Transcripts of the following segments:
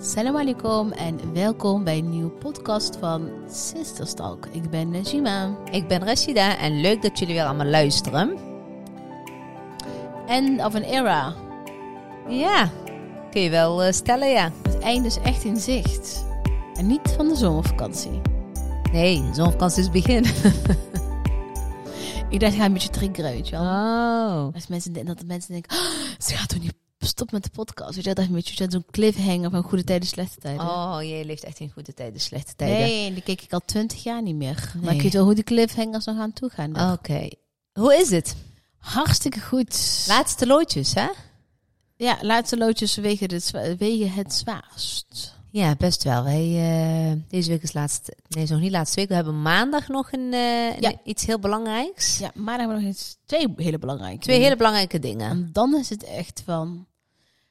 Salam alaikum en welkom bij een nieuwe podcast van Sisters Talk. Ik ben Najima. Ik ben Rashida en leuk dat jullie weer allemaal luisteren. End of an era. Ja, kun je wel eh, stellen, ja. Het einde is echt in zicht. En niet van de zomervakantie. Nee, zonvakantie is het begin. Ik dacht, ik ga een beetje triggeren, weet je wel. Oh. Als mensen, de- dat de mensen denken, "Ah, ze gaat toch niet stop met de podcast. Weet je, wel, dat is een beetje dat is zo'n cliffhanger van goede tijden, slechte tijden. Oh, jij leeft echt in goede tijden, slechte tijden. nee, die keek ik al twintig jaar niet meer. Maar Nee. ik weet wel hoe die cliffhangers nog aan toe gaan. Oké. Hoe is het? Hartstikke goed. Laatste loodjes, hè? ja, laatste loodjes wegen, de zwa- wegen het zwaarst. Ja, best wel. Wij, eh, deze week is laatste... Nee, is nog niet laatste week. We hebben maandag nog een, eh, Ja. een- iets heel belangrijks. Ja, maar dan hebben we nog eens twee hele belangrijke. Twee dingen. hele belangrijke dingen. En dan is het echt van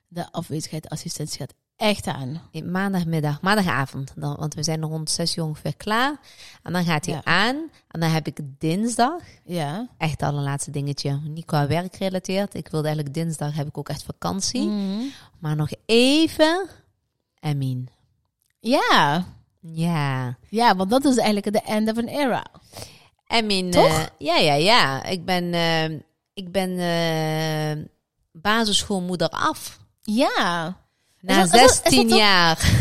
de afwezigheid, assistentie gaat echt aan. Nee, Maandagmiddag, maandagavond. Dan, want we zijn rond zes uur ongeveer klaar. En dan gaat hij Ja. aan. En dan heb ik dinsdag... Ja. echt al een laatste dingetje. Niet qua werk gerelateerd. Ik wilde eigenlijk dinsdag heb ik ook echt vakantie. Mm. Mhm. Maar nog even. Emin. Ja. Ja. Ja, want dat is eigenlijk de end of an era. Emin. Toch? eh, ja, ja, ja. Ik ben, eh, ik ben eh, basisschoolmoeder af. Ja. Na dat- is dat- is 16 dat ook- jaar.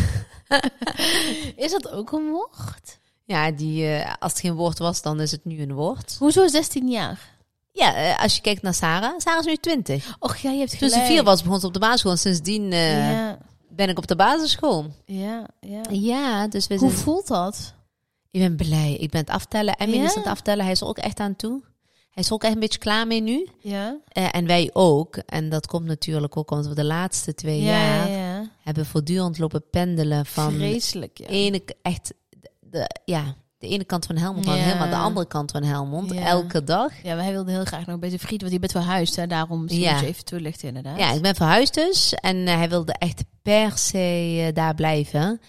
Is dat ook een woord? Ja, die, eh, als het geen woord was, dan is het nu een woord. Hoezo 16 jaar? Ja, eh, als je kijkt naar Sarah. Sarah is nu 20. Och ja, je hebt Toen gelijk. ze vier was, begon ze op de basisschool. En sindsdien eh, Ja, ben ik op de basisschool. ja, ja. Ja, dus we Hoe zijn... voelt dat? Ik ben blij. Ik ben het aftellen. Emin Ja? is aan het aftellen. Hij is er ook echt aan toe. Hij is er ook echt een beetje klaar mee nu. Ja. Eh, en wij ook. En dat komt natuurlijk ook omdat we de laatste twee Ja, jaar ja. hebben voortdurend lopen pendelen van Vreselijk, ja. de ene k- echt de, de- ja, de ene kant van Helmond dan Ja. helemaal de andere kant van Helmond. Ja. Elke dag. Ja, wij wilden heel graag nog bij de vriend, want je bent verhuisd, hè? Daarom misschien Ja. moet je even toelichten, inderdaad. Ja, ik ben verhuisd dus. En eh, hij wilde echt per se eh, daar blijven.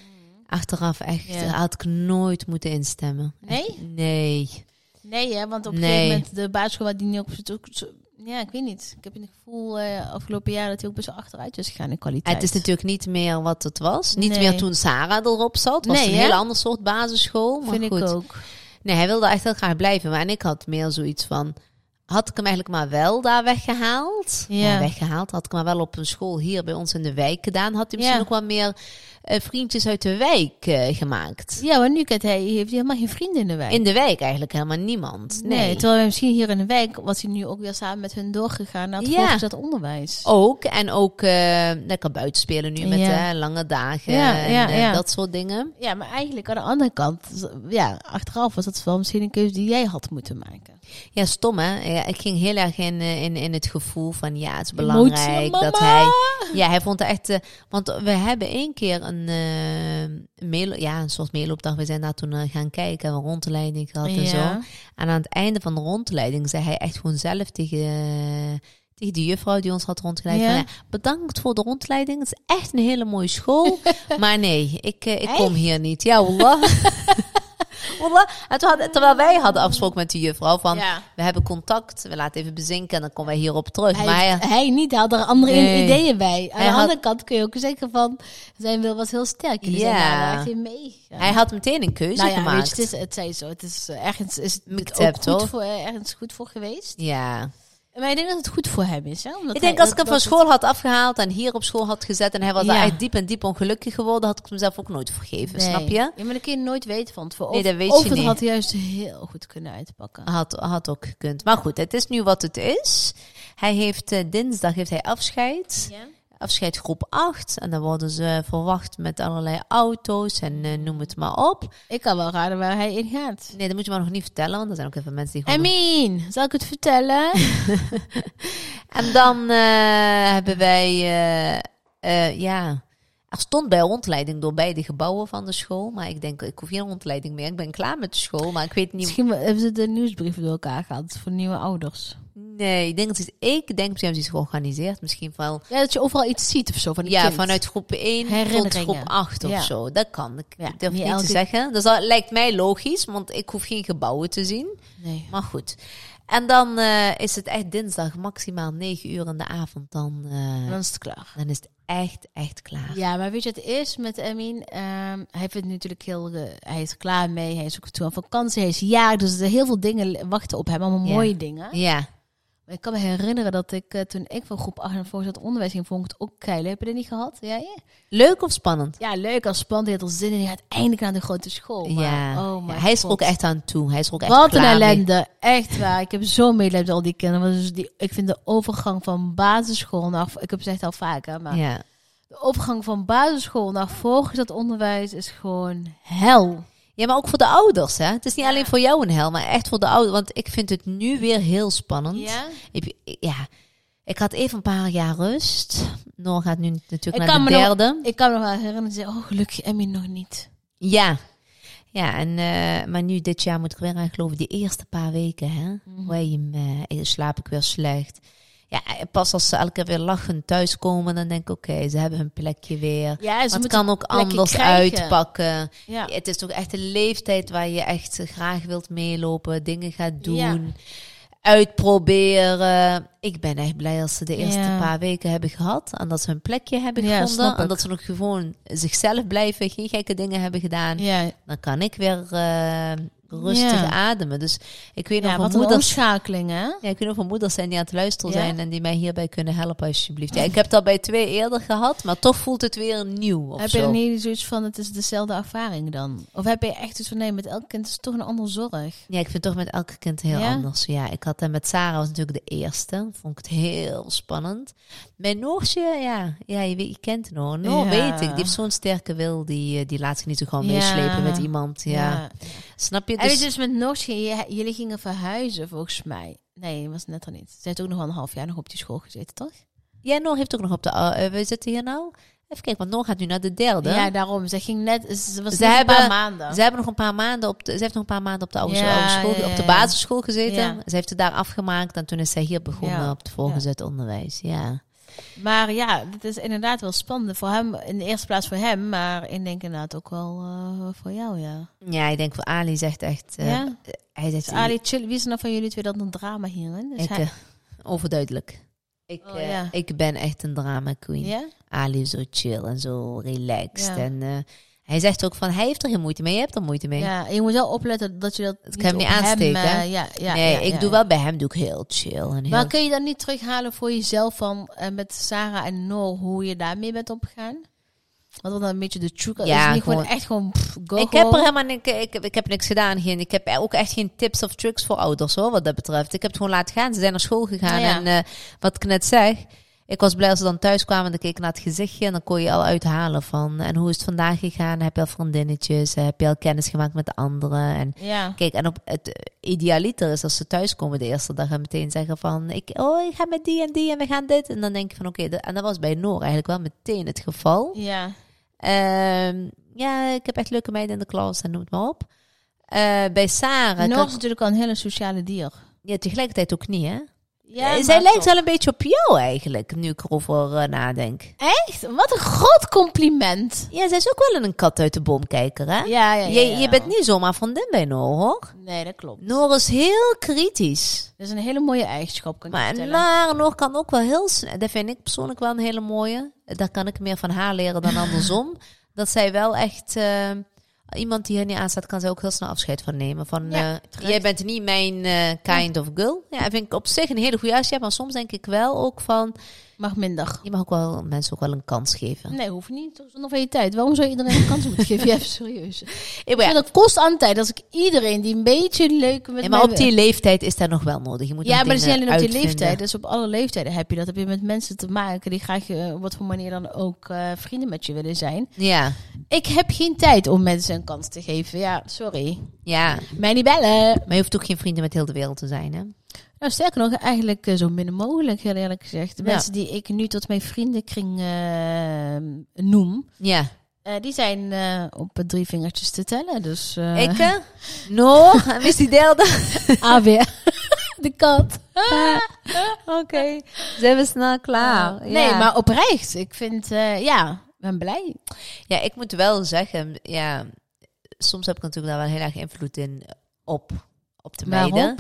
Achteraf echt Mhm. Ja. had ik nooit moeten instemmen. Nee? Echt, nee. Nee, hè, want op een Nee. gegeven moment de basisschool waar die nu op zit, ook zo- ja, ik weet niet. Ik heb het gevoel eh, afgelopen jaar dat hij ook best wel achteruit is gegaan in kwaliteit. Het is natuurlijk niet meer wat het was. Niet Nee. meer toen Sarah erop zat. Het was Nee, een hè? heel ander soort basisschool. Maar vind goed. ik ook. Nee, hij wilde echt heel graag blijven. Maar en ik had meer zoiets van... Had ik hem eigenlijk maar wel daar weggehaald? Ja. weggehaald. Had ik hem maar wel op een school hier bij ons in de wijk gedaan. Had hij misschien Ja. ook wel meer eh, vriendjes uit de wijk eh, gemaakt. Ja, want nu kent hij, heeft hij helemaal geen vrienden in de wijk. In de wijk eigenlijk helemaal niemand. nee. Nee. terwijl hij misschien hier in de wijk was hij nu ook weer samen met hun doorgegaan naar het Ja. voortgezet onderwijs. Ook. En ook eh, lekker buiten spelen nu met Ja. eh, lange dagen. Ja, en ja, eh, ja. dat soort dingen. Ja, maar eigenlijk aan de andere kant, ja, achteraf was dat wel misschien een keuze die jij had moeten maken. Ja, stom hè. Ja, ik ging heel erg in, eh, in, in het gevoel van ja, het is Emotie, belangrijk dat mama! hij. Ja, hij vond het echt. eh, want we hebben één keer een, eh meelo- ja, een soort meeloopdag. We zijn daar toen eh, gaan kijken, hebben een rondleiding gehad en zo. Ja. En aan het einde van de rondleiding zei hij echt gewoon zelf tegen. eh, tegen die juffrouw die ons had rondgeleid. Ja. van, ja, bedankt voor de rondleiding. Het is echt een hele mooie school. maar nee, ik, eh, ik kom hier niet. Ja, wallah. wallah. En toen hadden- terwijl wij hadden afgesproken met die juffrouw van... Ja. We hebben contact, we laten even bezinken en dan komen wij hierop terug. Hij, maar eh, hij, hij niet, hij had er andere Nee. ideeën bij. Aan Hij de had- andere kant kun je ook zeggen van, zijn wil was heel sterk. Jullie zijn Ja. daar wel echt in meegegaan. hij had meteen een keuze Nou ja, gemaakt. weet je, het, is, het zei zo. Het is eh, ergens is het Met ook tap, goed toch? voor, eh, ergens goed voor geweest. ja. Maar ik denk dat het goed voor hem is. Hè? Omdat Ik hij- denk als ik hem dat- van dat school had afgehaald en hier op school had gezet en hij was daar Ja. echt diep en diep ongelukkig geworden, had ik het mezelf ook nooit vergeven, het- Nee. snap je? Ja, maar dat kun je nooit weten van tevoren. Nee, Of- dat weet of je het niet. had juist heel goed kunnen uitpakken. Had, had ook gekund. Maar goed, het is nu wat het is. Hij heeft eh, dinsdag heeft hij afscheid. Ja? Afscheid groep 8. En dan worden ze verwacht met allerlei auto's en eh, noem het maar op. Ik kan wel raden waar hij in gaat. Nee, dat moet je maar nog niet vertellen, want er zijn ook even mensen die I gewoon mean, zal ik het vertellen? En dan eh, hebben wij, eh, eh, ja, er stond bij rondleiding door beide gebouwen van de school. Maar ik denk, ik hoef geen rondleiding meer. Ik ben klaar met de school, maar ik weet niet. Misschien hebben ze de nieuwsbrieven door elkaar gehaald voor nieuwe ouders. Nee, ik denk dat ze, ik denk misschien hebben ze iets georganiseerd. Misschien wel, Ja, dat je overal iets ziet of zo van die ja, kind. vanuit groep 1 tot Herinneringen. groep 8 of Ja. zo. Dat kan. Ik Ja, durf niet niet elke- te zeggen. Dus dat lijkt mij logisch, want ik hoef geen gebouwen te zien. Nee. Maar goed. En dan eh, is het echt dinsdag maximaal 9 uur in de avond. Dan, eh, En dan is het klaar. dan is het echt, echt klaar. Ja, maar weet je wat het is met Emin? Ehm, hij vindt natuurlijk heel... eh, hij is er klaar mee. Hij is ook toe aan vakantie. Hij is jarig. Dus er heel veel dingen wachten op hem. Allemaal Ja. mooie dingen. Ja. Maar ik kan me herinneren dat ik... eh, toen ik van groep 8 naar voorzet onderwijs ging... vond ik het ook keileuk. Heb je dat niet gehad? Ja, ja. Leuk of spannend? ja leuk. Als spannend. Hij had er zin in. Hij gaat eindelijk naar de grote school. Maar, ja. Oh Ja, my Hij is er God. ook echt aan toe. Hij is er ook echt Wat een klaar mee. ellende. Echt waar. Ik heb zo'n medelijden met al die kinderen. Want dus die, ik vind de overgang van basisschool naar... Ik heb het echt al vaker, maar... Ja. De opgang van basisschool naar voortgezet onderwijs is gewoon hel. ja, maar ook voor de ouders. Hè? Het is niet alleen voor jou een hel, maar echt voor de ouders. Want ik vind het nu weer heel spannend. Ik, ja, ik had even een paar jaar rust. Noor gaat nu natuurlijk Ik naar kan de me nog- derde. Ik kan me nog wel herinneren, ze zei, oh gelukkig Emmy nog niet. Ja. Ja, en, eh, maar nu dit jaar moet ik weer aan geloven. Die eerste paar weken, hè. Wee me, eh, slaap ik weer slecht. Ja, en pas als ze elke keer weer lachend thuiskomen, dan denk ik, oké, ze hebben hun plekje weer. Ja, ze Maar het Dus moeten- kan ook plekje anders krijgen. uitpakken. Ja. Het is toch echt een leeftijd waar je echt graag wilt meelopen, dingen gaat doen, Ja. uitproberen. Ik ben echt blij als ze de eerste Ja. paar weken hebben gehad en dat ze hun plekje hebben Ja, gevonden. snap En ik. dat ze nog gewoon zichzelf blijven, geen gekke dingen hebben gedaan. Ja, Dan kan ik weer eh, rustig Ja. ademen. Dus ik weet nog ja van wat een moeders. omschakeling hè? Ja, ik weet nog van moeders zijn die aan het luisteren Ja? zijn en die mij hierbij kunnen helpen alsjeblieft. Ja, ik heb dat bij twee eerder gehad, maar toch voelt het weer nieuw of heb zo. je dan niet zoiets van, het is dezelfde ervaring dan? Of heb je echt iets van, nee, met elk kind is het toch een andere zorg? Ja, ik vind het toch met elke kind heel Ja? anders. Ja, ik had dat met Sarah, was natuurlijk de eerste. Vond ik het heel spannend. Mijn Noortje, ja, ja je, weet, je kent Noor. Noor Ja. weet ik, die heeft zo'n sterke wil. Die, eh, die laat zich niet zo gewoon Ja. meeslepen met iemand. Ja. Snap je? En Dus, weet je, dus met Norsje, j- jullie gingen verhuizen volgens mij. Nee, dat was net al niet. Ze heeft ook nog wel een half jaar nog op die school gezeten, toch? Ja, Noor heeft ook nog op de... eh, eh, we zitten hier nou... Even kijken, want Noor gaat nu naar de derde. Ja, daarom. Ze ging net, ze was Ze net een hebben- paar maanden. Ze hebben nog een paar maanden op de, ze heeft nog een paar maanden op de oude, Ja, oude school, ja, ja, op de ja. basisschool gezeten. Ja. Ze heeft het daar afgemaakt en toen is zij hier begonnen Ja, op het voorgezet onderwijs. Ja. Maar ja, dit is inderdaad wel spannend voor hem. In de eerste plaats voor hem, maar ik denk inderdaad ook wel eh, voor jou, ja. Ja, ik denk voor Ali zegt echt. eh, Ja? eh, Hij zegt Dus Ali, chill, wie is er nou van jullie twee dat een drama hierin? Dus ik, hij- eh, overduidelijk. Ik, Oh, eh, ja. ik ben echt een drama queen. ja? Ali is zo chill en zo relaxed. Ja. En eh, hij zegt ook van hij heeft er geen moeite mee, je hebt er moeite mee. ja, en je moet wel opletten dat je dat kan hem niet op aansteken, eh, hè? ja, ja, nee, ja, ik ja, doe ja. wel bij hem doe ik heel chill. En heel, Maar kun je dat niet terughalen voor jezelf van eh, met Sarah en Noor, hoe je daarmee bent opgegaan? Want dan een beetje de chuka Ja, is niet gewoon, gewoon- echt gewoon pff, go ik heb er gewoon. helemaal ik, ik, ik heb niks gedaan. Geen, ik heb ook echt geen tips of tricks voor ouders hoor, wat dat betreft. Ik heb het gewoon laten gaan. Ze zijn naar school gegaan. Ja. En eh, wat ik net zeg, ik was blij als ze dan thuis kwamen. Dan keek ik naar het gezichtje en dan kon je al uithalen van. En hoe is het vandaag gegaan? Heb je al vriendinnetjes? Heb je al kennis gemaakt met de anderen? En Ja. Kijk, en op het eh, idealiter is als ze thuiskomen de eerste dag en meteen zeggen van... Ik, oh, ik ga met die en die en we gaan dit. En dan denk ik van oké, dat- en dat was bij Noor eigenlijk wel meteen het geval. ja. Ehm, ja, ik heb echt leuke meiden in de klas en noem het maar op. Eh, bij Sarah... Noor kan is ik- natuurlijk al een hele sociale dier. ja, tegelijkertijd ook niet, hè? Eh, maar Zij lijkt toch. wel een beetje op jou eigenlijk, nu ik erover eh, nadenk. Echt? Wat een groot compliment. Ja, zij is ook wel een kat uit de boom kijker, hè? Ja, ja, ja. Je, ja. je bent niet zomaar vriendin bij Noor, hoor. Nee, dat klopt. Noor is heel kritisch. Dat is een hele mooie eigenschap, kan ik je Maar vertellen. maar nog kan ook wel heel snel. Dat vind ik persoonlijk wel een hele mooie. Daar kan ik meer van haar leren dan andersom. dat zij wel echt. eh, iemand die er niet aan staat, kan zij ook heel snel afscheid van nemen. Van, Ja, eh, terecht. jij bent niet mijn eh, kind of girl. Ja, dat vind ik op zich een hele goede uitstap. Maar soms denk ik wel ook van. Mag minder. Je mag ook wel mensen ook wel een kans geven. Nee, hoeft niet. Toch zonder van je tijd. Waarom zou je iedereen een kans moeten geven? Ja, even serieus. Ja, maar, Ja, ja, dat kost aan tijd. Als ik iedereen die een beetje leuk met ja, maar mij op wil- die leeftijd is dat nog wel nodig. Je moet Ja, nog maar dat is niet dingen alleen op die uitvinden. leeftijd. Dus op alle leeftijden heb je dat. Heb je met mensen te maken die graag eh, op wat voor manier dan ook eh, vrienden met je willen zijn. Ja, Ik heb geen tijd om mensen een kans te geven. Ja, sorry. ja. Mij niet bellen. Maar je hoeft ook geen vrienden met heel de wereld te zijn, hè? Nou, sterker nog, eigenlijk eh, zo min mogelijk, heel eerlijk gezegd. De Ja. mensen die ik nu tot mijn vriendenkring eh, noem, Ja. eh, die zijn eh, op eh, drie vingertjes te tellen. Dus eh Ik, eh, Noor, en wie is die derde? alweer. Ah, De kat. Ah. Oké, zijn we snel klaar. Ah, ja. Eh, Nee, maar oprecht. Ik vind, eh, ja, ik ben blij. Ja, ik moet wel zeggen, ja, soms heb ik natuurlijk daar wel heel erg invloed in op, op de Waarop? meiden.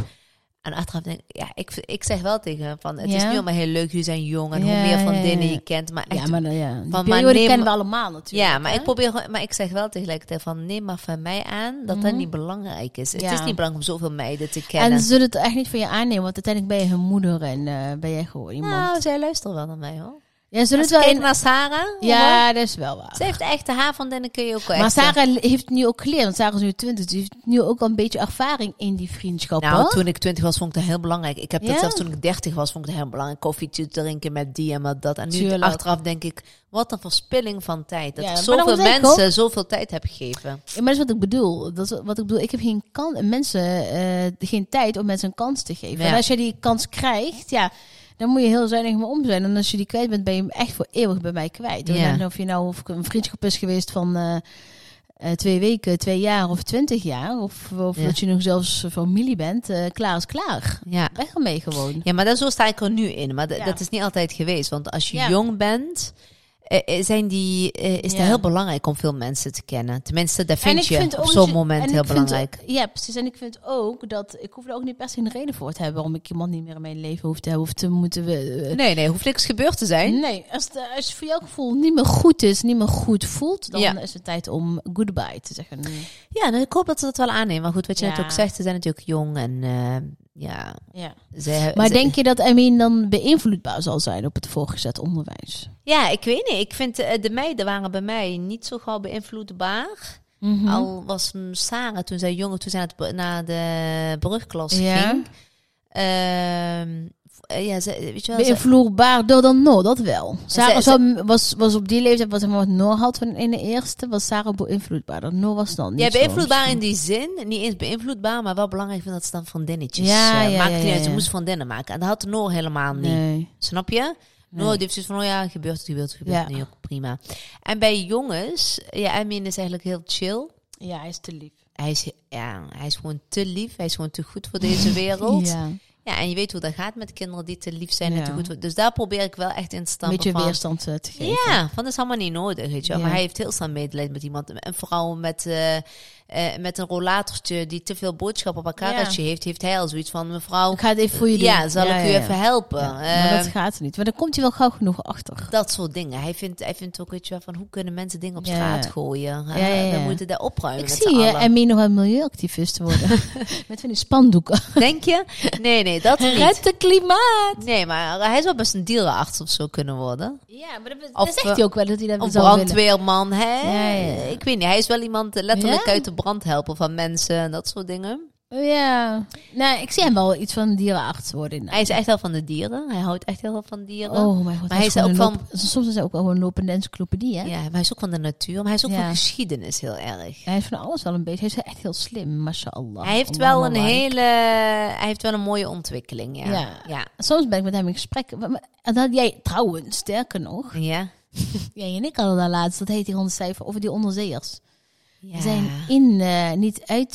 En achteraf denk ik, ja, ik, ik zeg wel tegen hem van, het is Ja. nu allemaal heel leuk, jullie zijn jong en Ja, hoe meer van ja, dingen ja. je kent, maar echt ja, maar nou ja, die maar periode neem- kennen we allemaal natuurlijk. ja, maar hè? ik probeer gewoon, maar ik zeg wel tegelijkertijd van neem maar van mij aan dat dat niet belangrijk is. Mhm. Ja. Het is niet belangrijk om zoveel meiden te En kennen. ze zullen het echt niet van je aannemen, want uiteindelijk ben je hun moeder en eh, ben jij gewoon iemand. nou, zij luistert wel naar mij hoor. ja, ze zullen Als het ik wel in- kijk naar Sarah, ja. Ja, dat is wel waar. ze heeft echt de haar van Denneke ook wel Maar echt. Sarah heeft nu ook geleerd, want Sarah is nu 20, dus die heeft nu ook al een beetje ervaring in die vriendschappen. Nou, toen ik twintig was, vond ik dat heel belangrijk. Ik heb Ja. dat zelfs toen ik dertig was, vond ik dat heel belangrijk. Koffietje drinken met die en met dat. En nu Tuurlijk. achteraf denk ik, wat een verspilling van tijd. Dat Ja, ik maar dat zoveel moet ik mensen zoveel tijd heb gegeven. Ja, maar dat is wat ik bedoel. Dat is wat ik bedoel. Ik heb geen, kan, mensen, eh, geen tijd om mensen een kans te geven. Ja. En als je die kans krijgt, ja, dan moet je heel zuinig mee om zijn. En als je die kwijt bent, ben je hem echt voor eeuwig bij mij kwijt. Ja. En of je nou of ik een vriendschap is geweest van eh, eh, twee weken, twee jaar of twintig jaar. Of, of Ja. dat je nog zelfs familie bent. eh, klaar is klaar. Ja. Weg ermee gewoon. Ja, maar dat, zo sta ik er nu in. Maar dat- Ja. dat is niet altijd geweest. Want als je Ja. jong bent, eh, eh, zijn die, eh, is het Ja. heel belangrijk om veel mensen te kennen. Tenminste, dat En vind ik je vind op ook zo'n dat je- moment en heel ik vind- belangrijk. ja, precies. En ik vind ook dat ik hoef er ook niet per se een reden voor te hebben waarom ik iemand niet meer in mijn leven hoef te hebben. Of te moeten we. eh, Nee, nee, hoeft niks gebeurd te zijn. Nee, als, de, als het voor jouw gevoel niet meer goed is, niet meer goed voelt, dan Ja. is het tijd om goodbye te zeggen. Ja, nou, ik hoop dat ze dat wel aannemen. Maar goed, wat je net Ja. ook zegt, ze zijn natuurlijk jong en eh, ja... Ja. Ze, Maar Eh, ze- denk je dat Emin dan beïnvloedbaar zal zijn op het voorgezet onderwijs? Ja, ik weet niet. Ik vind eh, de meiden waren bij mij niet zo gauw beïnvloedbaar. Mhm. Al was mm, Sarah toen zij jonger, toen zij naar, het br- naar de brugklas Ja. ging. Ehm, v- eh, ja, ze, weet je wel, ze- Beïnvloedbaar door dan Noor, dat wel. Sarah ze- zou- was, was op die leeftijd, wat, zeg maar, wat Noor had van in de eerste, was Sarah beïnvloedbaar. Dat Noor was dan niet Ja, zo. beïnvloedbaar in die zin. Niet eens beïnvloedbaar, maar wel belangrijk vind dat ze dan vriendinnetjes Ja, eh, ja, maakte. ja, niet ja, uit, Ze ja. moest vriendinnen maken. En dat had Noor helemaal niet. Nee. Snap je? Noor die heeft zoiets van, oh ja, gebeurt het, gebeurt het, gebeurt het Ja. niet. Ook prima. En bij jongens, ja, Emin is eigenlijk heel chill. Ja, hij is te lief. Hij is, ja, hij is gewoon te lief. Hij is gewoon te goed voor deze wereld. ja. Ja, en je weet hoe dat gaat met kinderen die te lief zijn en Ja. te goed voor- Dus daar probeer ik wel echt in te een stampen beetje van... weerstand eh, te geven. Ja, van dat is allemaal niet nodig, weet je wel. Ja. Maar hij heeft heel snel medelijden met iemand. En vooral met, eh, eh, met een rollatortje die te veel boodschappen op elkaar Ja. heeft, heeft hij al zoiets van, mevrouw, Ik ga het even voor je doen. ja, zal ik u ja. even helpen? Ja, maar Eh, dat gaat niet. Maar dan komt hij wel gauw genoeg achter. dat soort dingen. Hij vindt, hij vindt ook, weet je wel, van hoe kunnen mensen dingen op Ja. straat gooien? Eh, Ja, ja, We ja. moeten daar opruimen Ik met zie z'n je allen. en meer nog een milieuactivist worden. Met van die spandoeken. Denk je? Nee, nee, dat niet. Red de klimaat! Nee, maar hij zou best een dierenarts of zo kunnen worden. Ja, maar dat, Of, eh, zegt hij ook wel dat hij dat Een zou willen. brandweerman, hè? Ja, ja. Ik weet niet, hij is wel iemand eh, letterlijk Ja? uit de brand helpen van mensen en dat soort dingen. Oh, ja. Nee, ik zie hem wel iets van dierenarts worden. Hij is echt wel van de dieren. Hij houdt echt heel veel van dieren. Oh mijn god. Maar hij is ook gewoon een van... loop- Soms is hij ook wel gewoon een lopende encyclopedie, hè? Ja, maar hij is ook van de natuur. Maar hij is ook Ja. van geschiedenis heel erg. Hij is van alles wel een beetje. Hij is echt heel slim, mashallah. Hij heeft Allahu wel een akbar. hele... Hij heeft wel een mooie ontwikkeling, ja. Ja. Ja. Soms ben ik met hem in gesprek. Maar- maar- En dat jij, trouwens, sterker nog. Ja. Jij en ik hadden daar laatst, dat heet die rondcijfer, over die onderzeeërs. Ja. Zijn in, eh, niet uit...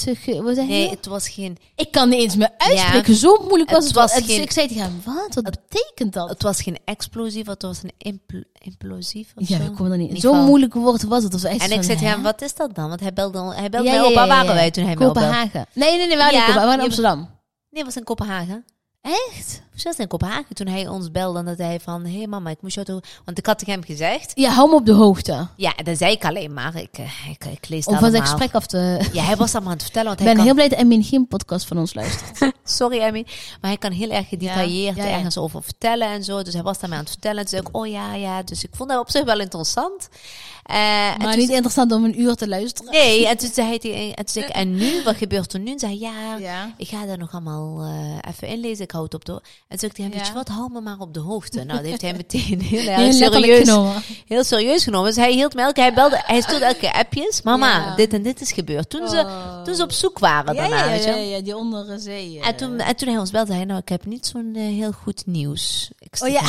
Wat zeg je? Nee, het was geen... Ik kan niet eens meer uitspreken. Zo moeilijk was Het het. was Het- geen- Ik zei tegen hem, wat? Wat betekent dat? Het was geen explosief, het was een impl- implosief of Ja, zo. we komen er niet in. In ieder Zo'n geval. moeilijk woord was het. Dat was echt En ik zei zei tegen hem, wat is dat dan? Want hij belde, al- hij belde mij op. Waar waren wij toen hij mij opbelde? Kopenhagen. Nee, nee, nee, we waren niet in Ja, Kopenhagen, we waren in je- Amsterdam. Nee, het was in Kopenhagen. Echt? Volgens mij was het in Kopenhagen toen hij ons belde. En dat hij van, hé hey mama, ik moest jou toch... Want ik had tegen hem gezegd... Ja, hou me op de hoogte. Ja, dat zei ik alleen maar. Ik, eh, ik, ik lees Om dat van allemaal. zijn gesprek af te... Ja, hij was allemaal aan het vertellen. Want Ik hij ben kan, heel blij dat Emin geen podcast van ons luistert. Sorry, Emmy. Maar hij kan heel erg gedetailleerd Ja, ja, ja. ergens over vertellen en zo. Dus hij was daarmee aan het vertellen. Toen zei ik, oh ja, ja. Dus ik vond dat op zich wel interessant. Eh, en Maar toen niet zei- interessant om een uur te luisteren. Nee, en toen zei hij... En toen zei ik, en nu? Wat gebeurt er nu? En zei hij, ja, Ja. ik ga daar nog allemaal eh, even inlezen. Ik hou het op de... ho- En toen zei ik tegen hem, weet je Ja. wat, hou me maar op de hoogte. Nou, dat heeft hij meteen heel erg Heel letterlijk serieus genomen. heel serieus genomen. Dus hij hield me elke, hij belde, hij stuurde elke keer appjes. Mama, Ja. dit en dit is gebeurd. Toen, ze, Oh. toen ze op zoek waren Ja, daarna, ja, weet je. ja, ja, die onderzee. eh. En toen, en toen hij ons belde, zei hij, nou, ik heb niet zo'n eh, heel goed nieuws. Ik Oh zei, ja.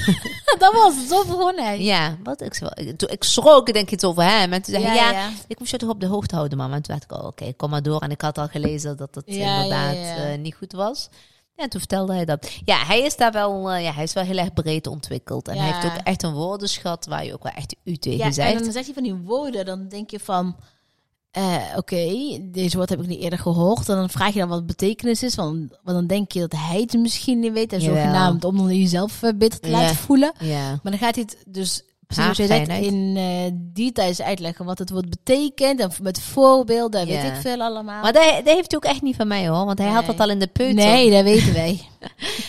dat was het. Zo begon hij. Ja, wat? Ik, zei wel- ik, toen- ik schrok, ik denk iets over hem. En toen zei hij, ja, Ja, ja. ik moest je toch op de hoogte houden, mama. En toen dacht ik, oh, oké, kom maar door. En ik had al gelezen dat dat Ja, ja, inderdaad ja. eh, niet goed was. Ja, en toen vertelde hij dat. Ja, hij is daar wel, eh, ja, hij is wel heel erg breed ontwikkeld. En hij Ja. heeft ook echt een woordenschat waar je ook wel echt u tegen Ja, zegt. en dan zegt hij van die woorden, dan denk je van... eh, oké, deze woord heb ik niet eerder gehoord. En dan vraag je dan wat betekenis is. Want, want dan denk je dat hij het misschien niet weet. En Jawel. zogenaamd om dan jezelf eh, beter te Ja. laten voelen. Ja. Maar dan gaat hij het dus zoals jij zegt, Haarfijnheid. in eh, details uitleggen wat het woord betekent. En met voorbeelden, en Ja. weet ik veel allemaal. Maar dat, dat heeft hij ook echt niet van mij hoor. Want hij had Nee. dat al in de peuter. nee, dat weten wij.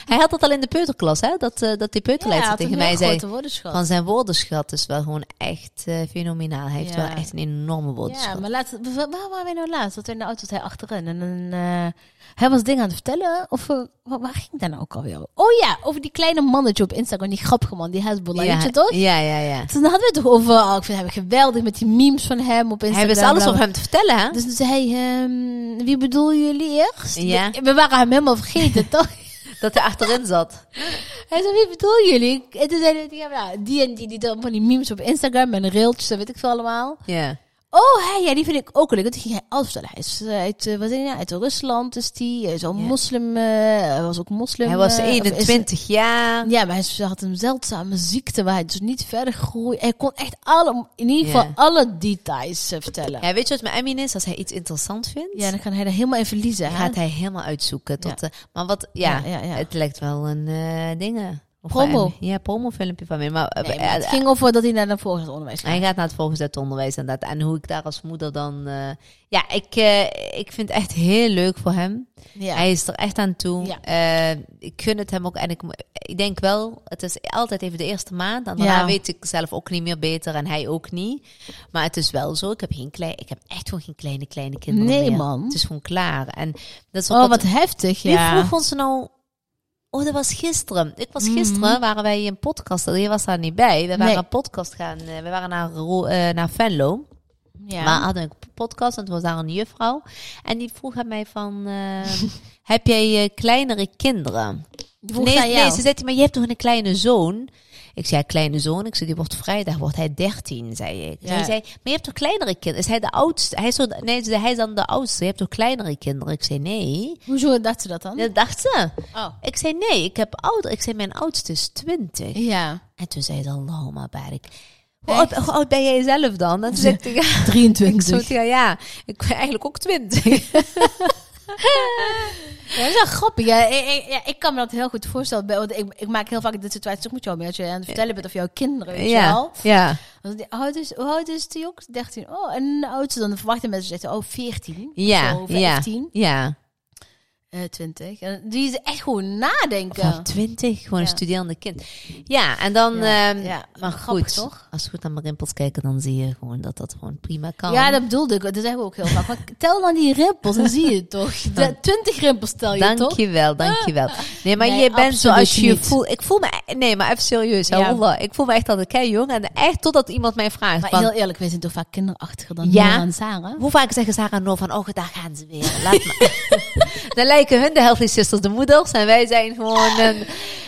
Hij had dat al in de peuterklas, hè? Dat, eh, dat die peuterleider had tegen een mij heel zei. grote woordenschat. Van zijn woordenschat is wel gewoon echt eh, fenomenaal. Hij heeft Ja. wel echt een enorme woordenschat. Ja, maar laatst, w- waar waren wij nou laatst? Dat we in de auto zat hij achterin en dan, eh, hij was dingen aan het vertellen. Of eh, wa- waar ging dat nou ook alweer? over? Oh ja, over die kleine mannetje op Instagram, die grappige man, die Hezbollah, weet je toch? Ja, ja, ja. Toen hadden we het toch over, oh, ik vind hem geweldig met die memes van hem op Instagram. Hij wist alles bla, op bla. hem te vertellen, hè? Dus toen zei hij, ehm, wie bedoelen jullie eerst? Ja. We, we waren hem helemaal vergeten, toch? Dat hij achterin zat. Hij zei, wie bedoelen jullie? En toen zei hij, ja, nou, die en die, die dan van die memes op Instagram en reeltjes, dat weet ik veel allemaal. Ja. Oh, hij, ja, die vind ik ook leuk. Want die ging hij alles vertellen. Hij is eh, uit, eh, wat is hij nou? uit Rusland, is die. Hij is al Ja. moslim. eh, hij was ook moslim. Hij was eh, of is- 21 jaar. ja, maar hij is- had een zeldzame ziekte waar hij dus niet verder groeide. Hij kon echt alle, in ieder geval Ja. alle details eh, vertellen. Ja. Ja, weet je wat mijn Emmin is? Als hij iets interessant vindt, dan kan hij er helemaal in verliezen. hè? gaat hij helemaal uitzoeken. Tot, eh, maar wat, ja, Ja, ja, ja. het lijkt wel een eh dingen. Of Promo. van Emmy. Ja, promofilmpje van mij. Maar, eh, Nee, maar het eh, ging over dat hij naar het volgend onderwijs ging. Hij gaat naar het volgezet onderwijs en dat. En hoe ik daar als moeder dan... eh, ja, ik, eh, ik vind het echt heel leuk voor hem. Ja. Hij is er echt aan toe. Ja. Eh, ik gun het hem ook. En ik, mo- ik denk wel, het is altijd even de eerste maand. En daarna Ja. weet ik zelf ook niet meer beter en hij ook niet. Maar het is wel zo. Ik heb, geen klein, ik heb echt gewoon geen kleine, kleine kinderen Nee, meer. man. Het is gewoon klaar. En dat is ook Oh, wat- wat heftig, ja. wie vroeg ons nou... Oh, dat was gisteren. Ik was gisteren, waren wij een podcast. Je was daar niet bij. We waren Mhm. Nee. een podcast gaan. eh, We waren naar, Ro- eh, naar Venlo. ja. Maar hadden een podcast. En toen was daar een juffrouw. En die vroeg aan mij van... eh, heb jij eh, kleinere kinderen? Die vroeg Nee, naar nee, jou. ze zei, maar je hebt toch een kleine zoon? Ik zei, ja, kleine zoon. Ik zei, die wordt vrijdag, wordt hij 13, zei ik. Ja. Zij zei, maar je hebt toch kleinere kinderen? Is hij de oudste? Hij is, zo, nee, ze zei, hij is dan de oudste. Je hebt toch kleinere kinderen? Ik zei, nee. Hoezo dacht ze dat dan? Dat dacht ze. Oh. Ik zei nee, ik heb ouder. Ik zei mijn oudste is 20. Ja. En toen zei ze Allahumma barik. Hoe oud, hoe oud ben jij zelf dan? En toen zei ik tegen haar, 23. ik zo, ja, ja, ik ben eigenlijk ook 20. Ja, dat is wel grappig. Ja, ik, ik- ja, ik kan me dat heel goed voorstellen. bij- Want ik, ik maak heel vaak dit situatie ook met jou mee. Als je aan het vertellen bent of jouw kinderen, weet je wel. ja. Want die, hoe, oud is, hoe oud is die ook? 13. Oh, en de oudste dan verwachten mensen zeggen, oh, 14. Ja, Zo, ja, 15. ja. eh, 20. En die is echt gewoon nadenken. Van 20, gewoon een Ja. studerende kind. Ja, en dan, Ja, ehm, ja. maar Grappig, goed, toch? als we goed naar mijn rimpels kijken, dan zie je gewoon dat dat gewoon prima kan. Ja, dat bedoelde ik. Dat zeggen we ook heel vaak. Maar tel dan die rimpels, dan zie je het toch. De, 20 rimpels tel je toch? Dankjewel, dankjewel. Nee, maar Nee, je bent absoluut zoals je je niet. voelt. Ik voel me, e- nee, maar even serieus. Ja. Ja. Ik voel me echt altijd kei jong. En echt totdat iemand mij vraagt Maar van, heel eerlijk, wij zijn toch vaak kinderachtiger dan Ja. Nora en Sarah? hoe vaak zeggen Sarah en Noor van, oh, daar gaan ze weer. Laat maar. Dan lijken hun de healthy sisters de moeders en wij zijn gewoon een...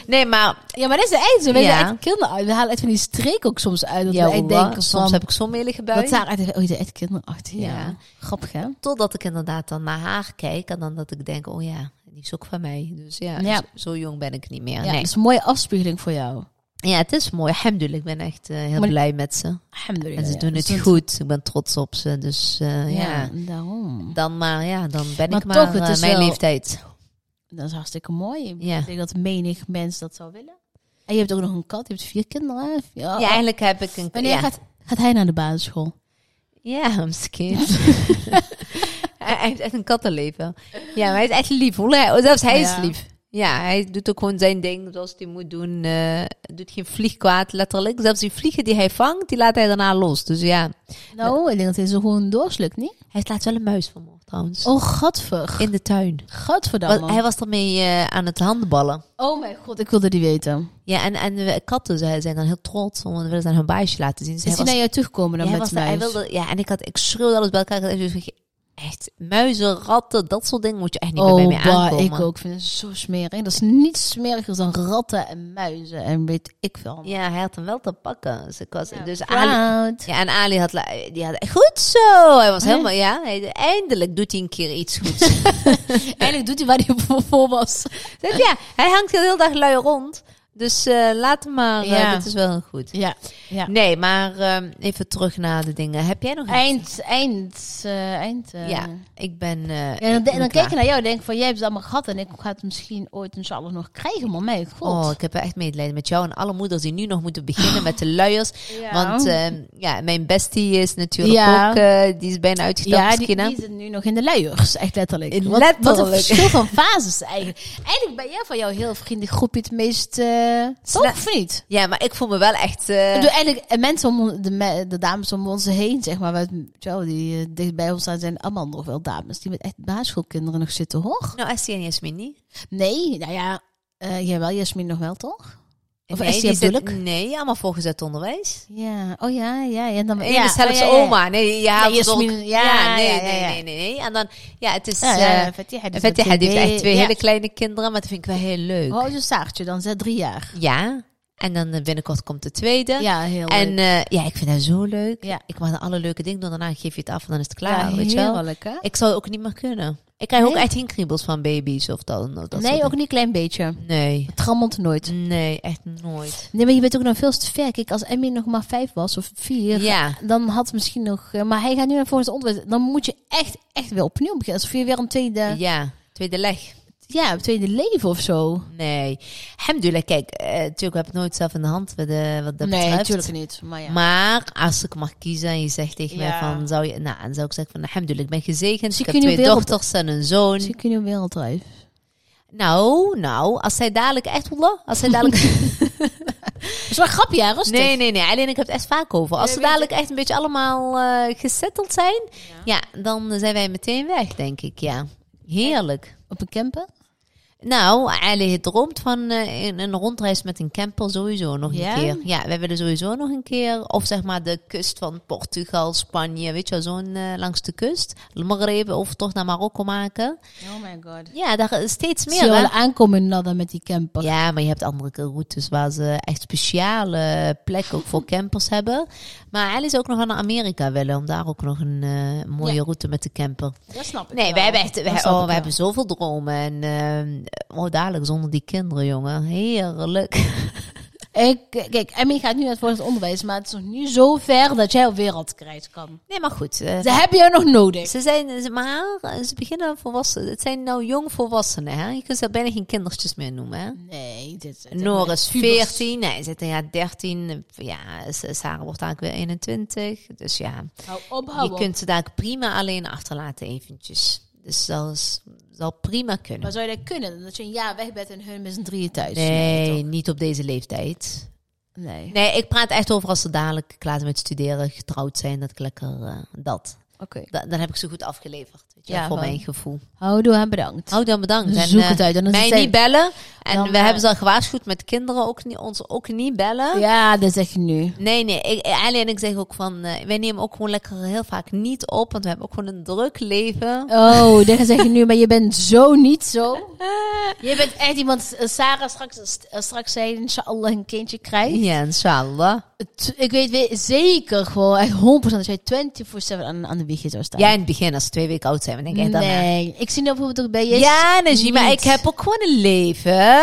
Nee, maar Ja, maar dat is echt zo. Wij Ja. zijn echt kinderachtig. We halen echt van die streek ook soms uit. Dat ja, wij echt Allah, denken soms van, heb ik zo'n melige Dat bui. Sarah eigenlijk, oh, je bent echt kinderachtig. Ja. Ja. Grappig, hè? Totdat ik inderdaad dan naar haar kijk en dan dat ik denk, oh ja, die is ook van mij. Dus ja, Ja. Zo, zo jong ben ik niet meer. Ja, nee. dat is een mooie afspiegeling voor jou. ja het is mooi. Alhamdulillah, ik ben echt eh, heel Maar- blij met ze. Alhamdulillah. En ze ja. doen het Dus dat- goed. Ik ben trots op ze. Dus eh, ja. Ja, daarom. dan maar, ja, dan ben Maar ik maar toch, het eh, is mijn wel- Oh, leeftijd. Dat is hartstikke mooi. Ja. Ik denk dat menig mens dat zou willen. En je hebt ook nog een kat. Je hebt vier kinderen, hè? Ja. Ja, eigenlijk heb ik een... oh. Wanneer ja. gaat, gaat hij naar de basisschool? Ja, misschien. hij heeft echt een kattenleven. Ja, maar hij is echt lief. Hoe hij, zelfs hij Ja. is lief. Ja, hij doet ook gewoon zijn ding zoals hij moet doen. eh doet geen vlieg kwaad, letterlijk. Zelfs die vliegen die hij vangt, die laat hij daarna los. Dus ja. Nou, ik denk dat hij zo gewoon doorslukt, niet? Hij is laatst wel een muis vermoord, trouwens. Oh, gadver. In de tuin. Gadverdamme. Want hij was ermee eh, aan het handballen. Oh mijn god, ik wilde die weten. Ja, en, en we- katten ze zijn dan heel trots, want we willen ze aan hun baasje laten zien. Dus Is hij was- naar jou toegekomen dan ja, hij met was daar- mij? hij wilde, ja, en ik, had, ik schreeuwde alles bij elkaar. Dus Ik had echt zoiets van, echt, muizen, ratten, dat soort dingen moet je echt niet meer bij mij Oh, bah, aankomen. ik ook. Ik vind het zo smerig. Dat is niets smeriger dan ratten en muizen en weet ik veel. allemaal. Ja, hij had hem wel te pakken. Dus, ik was, dus Ali, Proud. ja, en Ali had, la- die had goed zo. Hij was helemaal, ja, hij, eindelijk doet hij een keer iets goeds. Eigenlijk doet hij waar hij voor was. Dus ja, hij hangt heel de hele dag lui rond. Dus eh laat maar, eh, Ja. dit is wel goed. Ja. ja. Nee, maar ehm, even terug naar de dingen. Heb jij nog iets? Eind, eind, eh, eind. eh. Ja, ik ben... eh, En dan, ik de- en ben dan klaar. kijk je naar jou en denk van, jij hebt het allemaal gehad en ik ga het misschien ooit inshallah nog krijgen, maar mijn god. Oh, ik heb echt medelijden met jou en alle moeders die nu nog moeten beginnen met de luiers. Ja. Want ehm, ja, mijn bestie is natuurlijk Ja. ook, eh, die is bijna uitgestapt. ja, die, misschien, hè? die zit nu nog in de luiers, echt letterlijk. In Wat- Wat, een letterlijk. verschil van fases eigenlijk. Eigenlijk ben jij van jouw heel vriendelijk groepje het meest, eh toch of niet? Ja, maar ik voel me wel echt... eh, Ik bedoel, eigenlijk, eh, mensen om de, me- de dames om ons heen, zeg maar, wat, zo, die eh, dicht bij ons staan, zijn allemaal nog wel dames die met echt basisschoolkinderen nog zitten, hoor. nou, Essie en Jasmin niet. Nee, nou ja, eh jawel, Jasmin nog wel, toch? Of nee, Essie die zit- Abdulk? Nee, allemaal voorgezet onderwijs. Ja, oh ja, ja. En dan, Ja, ja, ja, zelfs oh, ja, ja. oma. Nee, ja, Nee, Abdulk. Jasmin, ja, nee, ja, ja, nee, ja. nee, nee, nee. En dan, ja, het is... Ja, eh ja, Fatiha, die is Fatiha met die heeft echt twee Ja. Oh. hele kleine kinderen, maar dat vind ik wel heel leuk. Hoe oud is Saartje dan? Zij drie jaar. Ja, en dan eh, binnenkort komt de tweede. Ja, heel En leuk. eh, ja, ik vind dat zo leuk. Ja. Ik mag dan alle leuke dingen doen. Daarna geef je het af en dan is het klaar. ja, weet je wel? heerlijk, hè? Ik zou ook niet meer kunnen. Ik krijg ook Nee. echt geen kriebels van baby's of dat. dat soort nee, dingen. ook niet een klein beetje. Nee. Het rammelt nooit. Nee, echt nooit. Nee, maar je bent ook nog veel te ver. Kijk, als Emmy nog maar vijf was of vier, Ja. dan had misschien nog... eh, Maar hij gaat nu naar volgens onderwijs. Dan moet je echt, echt weer opnieuw beginnen. Alsof je weer een tweede, Ja. Tweede leg. ja, een tweede leven of zo. Nee. Hemdullah, kijk, eh, natuurlijk heb ik nooit zelf in de hand wat, eh, wat dat nee, betreft. natuurlijk niet. Maar ja. Maar als ik mag kiezen en je zegt tegen mij Ja. van, zou je, nou, dan zou ik zeggen van, alhamdulillah, ik ben gezegend. Zie ik ik heb je nu twee weer op- dochters en een zoon. Zie ik je nu wereldreis. Nou, nou, als zij dadelijk echt, wallah, als zij dadelijk Dat is wel een grapje, hè? Rustig. Nee, nee, nee. Alleen ik heb het echt vaak over. Als Ja, ze weet dadelijk echt een beetje allemaal eh gesetteld zijn, ja. dan zijn wij meteen weg, denk ik. Ja, heerlijk. Op een camper? Nou, Ali droomt van eh, een, een rondreis met een camper sowieso nog Ja? een keer. Ja, wij willen sowieso nog een keer. Of zeg maar de kust van Portugal, Spanje, weet je wel, zo'n eh, langs de kust. Maghreb, of toch naar Marokko maken. Oh my god. Ja, daar is steeds Zie je meer. hè? wel aankomen Nada met die camper. Ja, maar je hebt andere routes waar ze echt speciale plekken ook voor campers hebben. Maar Ali is ook nog aan naar Amerika willen, om daar ook nog een eh, mooie Ja. route met de camper. Dat snap ik Nee, we wel. hebben echt, we, Dat snap oh, ik we wel. hebben zoveel dromen. En eh, oh, dadelijk zonder die kinderen, jongen. Heerlijk. Ik, kijk, Emmy gaat nu naar het volgend onderwijs, maar het is nog niet zo ver dat jij op wereldkrijt kan. Nee, maar goed. eh, Ze hebben jou nog nodig. ze zijn, ze- maar eh, ze beginnen volwassen. Het zijn nou jong volwassenen, hè? Je kunt ze bijna geen kindertjes meer noemen, hè? Nee, dit dit- Noor is pubers. 14, hij zit in jaar 13. Ja, S- Sarah wordt eigenlijk weer 21. Dus ja, Hou op, hou je op. kunt ze daar prima alleen achterlaten eventjes. Dus dat is, zal prima Maar kunnen. zou je dat kunnen? Dat je een jaar weg bent en hun met z'n drieën thuis? Nee, niet op deze leeftijd. toch? Nee. Nee, ik praat echt over als ze dadelijk klaar zijn met studeren, getrouwd zijn, dat ik lekker eh, dat. Oké. Da- dan heb ik ze goed afgeleverd, weet je, Ja, wel, voor gewoon. mijn gevoel. Houdoe en bedankt. Oh, dan bedankt. Dus en, zoek eh, het uit, dan is mij het tijd. niet bellen. En Dan, we eh, hebben ze al gewaarschuwd met kinderen ook niet, ons ook niet bellen. Ja, dat zeg je nu. Nee, nee. Ik, Ali en ik zeggen ook van... eh, wij nemen ook gewoon lekker heel vaak niet op. Want we hebben ook gewoon een druk leven. Oh, dat zeg je nu, maar je bent zo niet zo. Je bent echt iemand, eh, Sarah straks, eh, straks zei, inshallah, een kindje krijgt. Ja, inshallah. Het- Ik weet we- zeker gewoon, echt 100% dat jij 24-7 aan, aan de wieg zou staan. Ja, in het begin als ze twee weken oud zijn. Dan denk ik echt daarna. nee, ik zie dat bijvoorbeeld ook bij je. Ja, Najee, maar ik niet. heb ook gewoon een leven.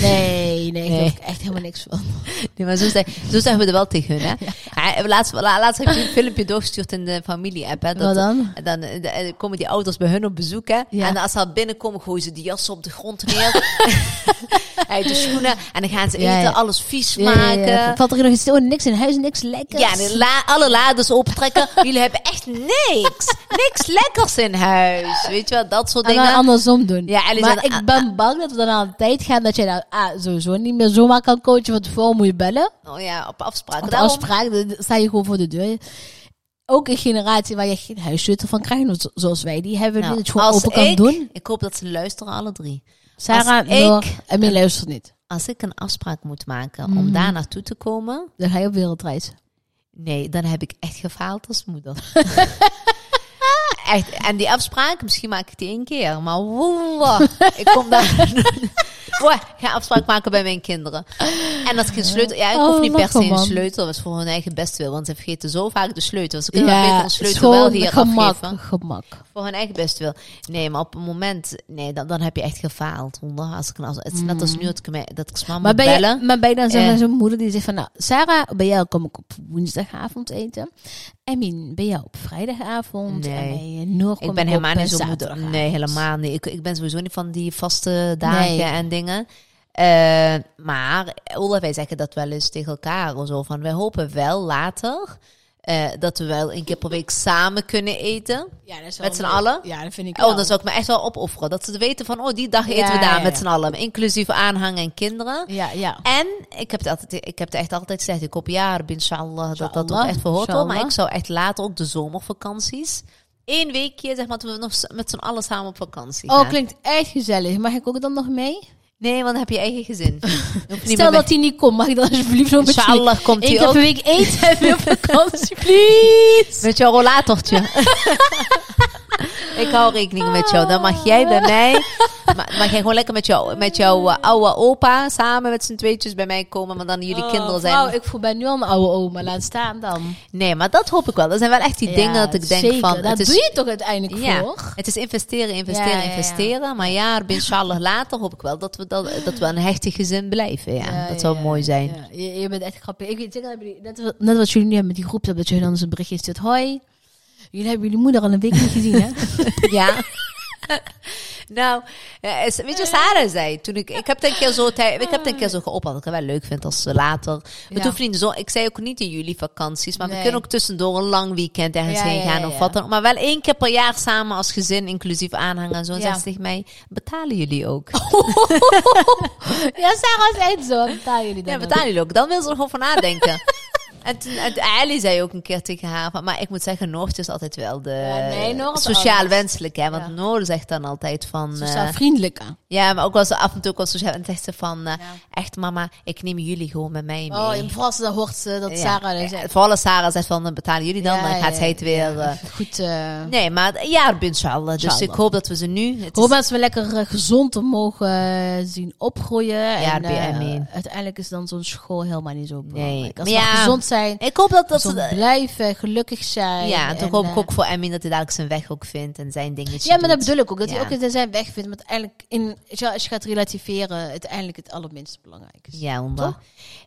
Nee, nee, ik Nee. geloof ik echt helemaal niks van. Nee, maar zo, zeg- zo zeggen we er wel tegen hun, hè. Ah, Laatst, la- laatst heb ik een filmpje doorgestuurd in de familie-app, hè. Wat dan? Dan eh, de- eh, komen die ouders bij hun op bezoek, hè. Ja. En als ze al binnenkomen, gooien ze die jassen op de grond neer. Hey, de schoenen. En dan gaan ze eten, Ja, ja. alles vies Ja, maken. ja, ja. Valt er nog iets oh, niks in huis, niks lekkers? Ah, Ja, de la- alle laders optrekken. Jullie hebben echt niks. Niks lekkers in huis. Weet je wel, dat soort En dan dingen. andersom doen. Ja, Alice, maar en- ik ben bang dat we dan aan de tijd gaan dat jij nou ah, sowieso niet meer zomaar kan coachen. Want voor moet je bellen. Oh ja, op afspraak. Want Daarom- afspraak, dan sta je gewoon voor de deur. Ook een generatie waar je geen huissleutel van krijgt, zo- zoals wij. Die hebben Nou, nu dat je gewoon als open kan ik- doen. Ik hoop dat ze luisteren, alle drie. Sarah, ik- Noor, en mij luistert niet. Als ik een afspraak moet maken Hmm. om daar naartoe te komen... Dan ga je op wereldreis. Nee, dan heb ik echt gefaald als moeder. echt. En die afspraak, misschien maak ik die één keer. Maar woe, ik kom daar... Boah, ik ga afspraak maken bij mijn kinderen. En als ik geen sleutel... Ja, ik Oh, hoef niet per lachen, se een man. sleutel. Dat is voor hun eigen bestwil. Want ze vergeten zo vaak de sleutel. Ze kunnen wel Ja, beter een het is sleutel gewoon wel hier gemak, afgeven. Gemak. Voor hun eigen bestwil. Nee, maar op een moment... Nee, dan, dan heb je echt gefaald. Honden. Als ik, als, het is net als nu dat ik, me- dat ik mama Mm. Maar moet ben, bellen. je, maar ben je dan Eh. zo'n zo'n moeder die zegt van... Nou, Sarah, bij jou kom ik op woensdagavond eten. Emin, bij jou op vrijdagavond. Nee. En bij eh, Noor kom Ik ben op helemaal eh, niet zo'n moeder. zaterdagavond. Nee, helemaal niet. Ik, ik ben sowieso niet van die vaste dagen Nee. en dingen. Eh, maar Olaf, wij zeggen dat wel eens tegen elkaar. of Zo, van, wij hopen wel later eh, dat we wel een keer per week samen kunnen eten. Ja, dat is Met z'n leuk. allen? Ja, dat vind ik Oh, wel. dan zou ik me echt wel opofferen. Dat ze weten van, oh, die dag eten Ja, we daar ja, met ja. z'n allen. Inclusief aanhang en kinderen. Ja, ja. En ik heb, het altijd, ik heb het echt altijd gezegd, ik hoop ja, Rabbi, inshallah, dat dat ook Inshallah, echt verhoord wordt. Maar inshallah. ik zou echt later ook de zomervakanties, één weekje, zeg maar, dat we nog s- met z'n allen samen op vakantie gaan. Oh, klinkt echt gezellig. Mag ik ook dan nog mee? Nee, want dan heb je eigen gezin. Stel dat hij niet komt, mag ik dan alsjeblieft nog met jullie? Inshallah komt Ik hij heb ook een week eten en wil vakantie, please. met jouw rollatortje. ik hou rekening met jou. Dan mag jij bij mij, ma- mag jij gewoon lekker met, jou, met jouw eh, oude opa samen met z'n tweetjes bij mij komen, want dan jullie kinderen zijn. Nou, ik voel bij nu al een oude oma. Laat staan dan. Nee, maar dat hoop ik wel. Dat zijn wel echt die dingen dat ik denk zeker. van, Daar het is doe je toch uiteindelijk Ja, voor? het is investeren, investeren, Ja, ja, ja. investeren. Maar ja, inshallah later hoop ik wel dat we, dat, dat we een hechtig gezin blijven. Ja. Ja, dat ja, zou ja, mooi zijn. ja. Je, je bent echt grappig. Ik weet zeker, dat jullie- net, wat- net wat jullie nu hebben met die groep, dat je dan eens een berichtje stuurt. Hoi, jullie hebben jullie moeder al een week niet gezien, hè? Ja. nou, ja, is- weet je, Sarah zei toen ik... Ik heb het een keer zo, tij- ik heb het een keer zo geopperd dat ik het wel leuk vind als ze later... Het Ja. hoeft niet zo... Ik zei ook niet in jullie vakanties, maar we Nee. kunnen ook tussendoor een lang weekend ergens Ja, heen ja, gaan ja, of ja. wat dan ook. Maar wel één keer per jaar samen als gezin, inclusief aanhang en zo. En Ja. zei ze tegen mij, betalen jullie ook? ja, Sarah is echt zo. Betaal jullie dan Ja, ook? betalen jullie ook. Dan wil ze er gewoon van nadenken. en toen, en Ali zei ook een keer tegen haar, van, maar ik moet zeggen, Noortje is altijd wel de Ja, nee, Noort is sociaal anders. wenselijk. Hè? Want Ja. Noor zegt dan altijd van... Sociaal eh, vriendelijker. ja, maar ook wel zo af en toe ook wel sociaal. En zegt ze van, eh, echt mama, ik neem jullie gewoon met mij mee. Oh, en vooral als ze dat hoort ze dat Ja. Sarah dan Eh, zegt. Vooral als Sarah zegt van, dan betalen jullie dan, Ja, dan gaat ja, zij het weer... eh, Goed, eh nee, maar ja, inshallah. Dus Inshallah. ik hoop dat we ze nu... het is- Hoop dat we lekker eh, gezond te mogen eh, zien opgroeien. en, Rabbi, eh, ameen. uiteindelijk is dan zo'n school helemaal niet zo belangrijk. Als Maar we ja, gezond zijn, ik hoop dat, dat gezond ze... blijven, gelukkig zijn. Ja, en toch hoop ik eh, ook voor Emmy dat hij dadelijk zijn weg ook vindt en zijn dingetje Ja, maar dat doet. bedoel ik ook. Dat hij Ja. ook in zijn weg vindt. Want uiteindelijk, in, als je- als je gaat relativeren, uiteindelijk het allerminst belangrijk is. Ja, onder. Toch?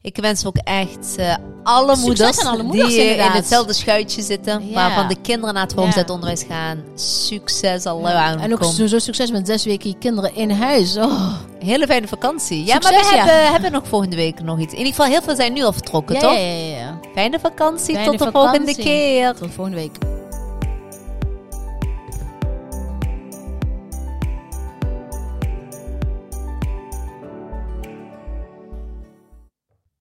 Ik wens ook echt eh, alle, Succes moeders aan alle moeders, die eh, in inderdaad. hetzelfde schuitje zitten, Ja. waarvan de kinderen naar het Ja. hoogzet onderwijs gaan. Succes, Allah aan En ook sowieso succes met zes weken je kinderen in huis. Oh. Hele fijne vakantie. Ja, maar Succes, we ja. hebben, hebben nog volgende week nog iets. In ieder geval, heel veel zijn nu al vertrokken, Ja, toch? ja, ja, ja. Fijne vakantie, Fijne tot de volgende vakantie. keer. Tot volgende week.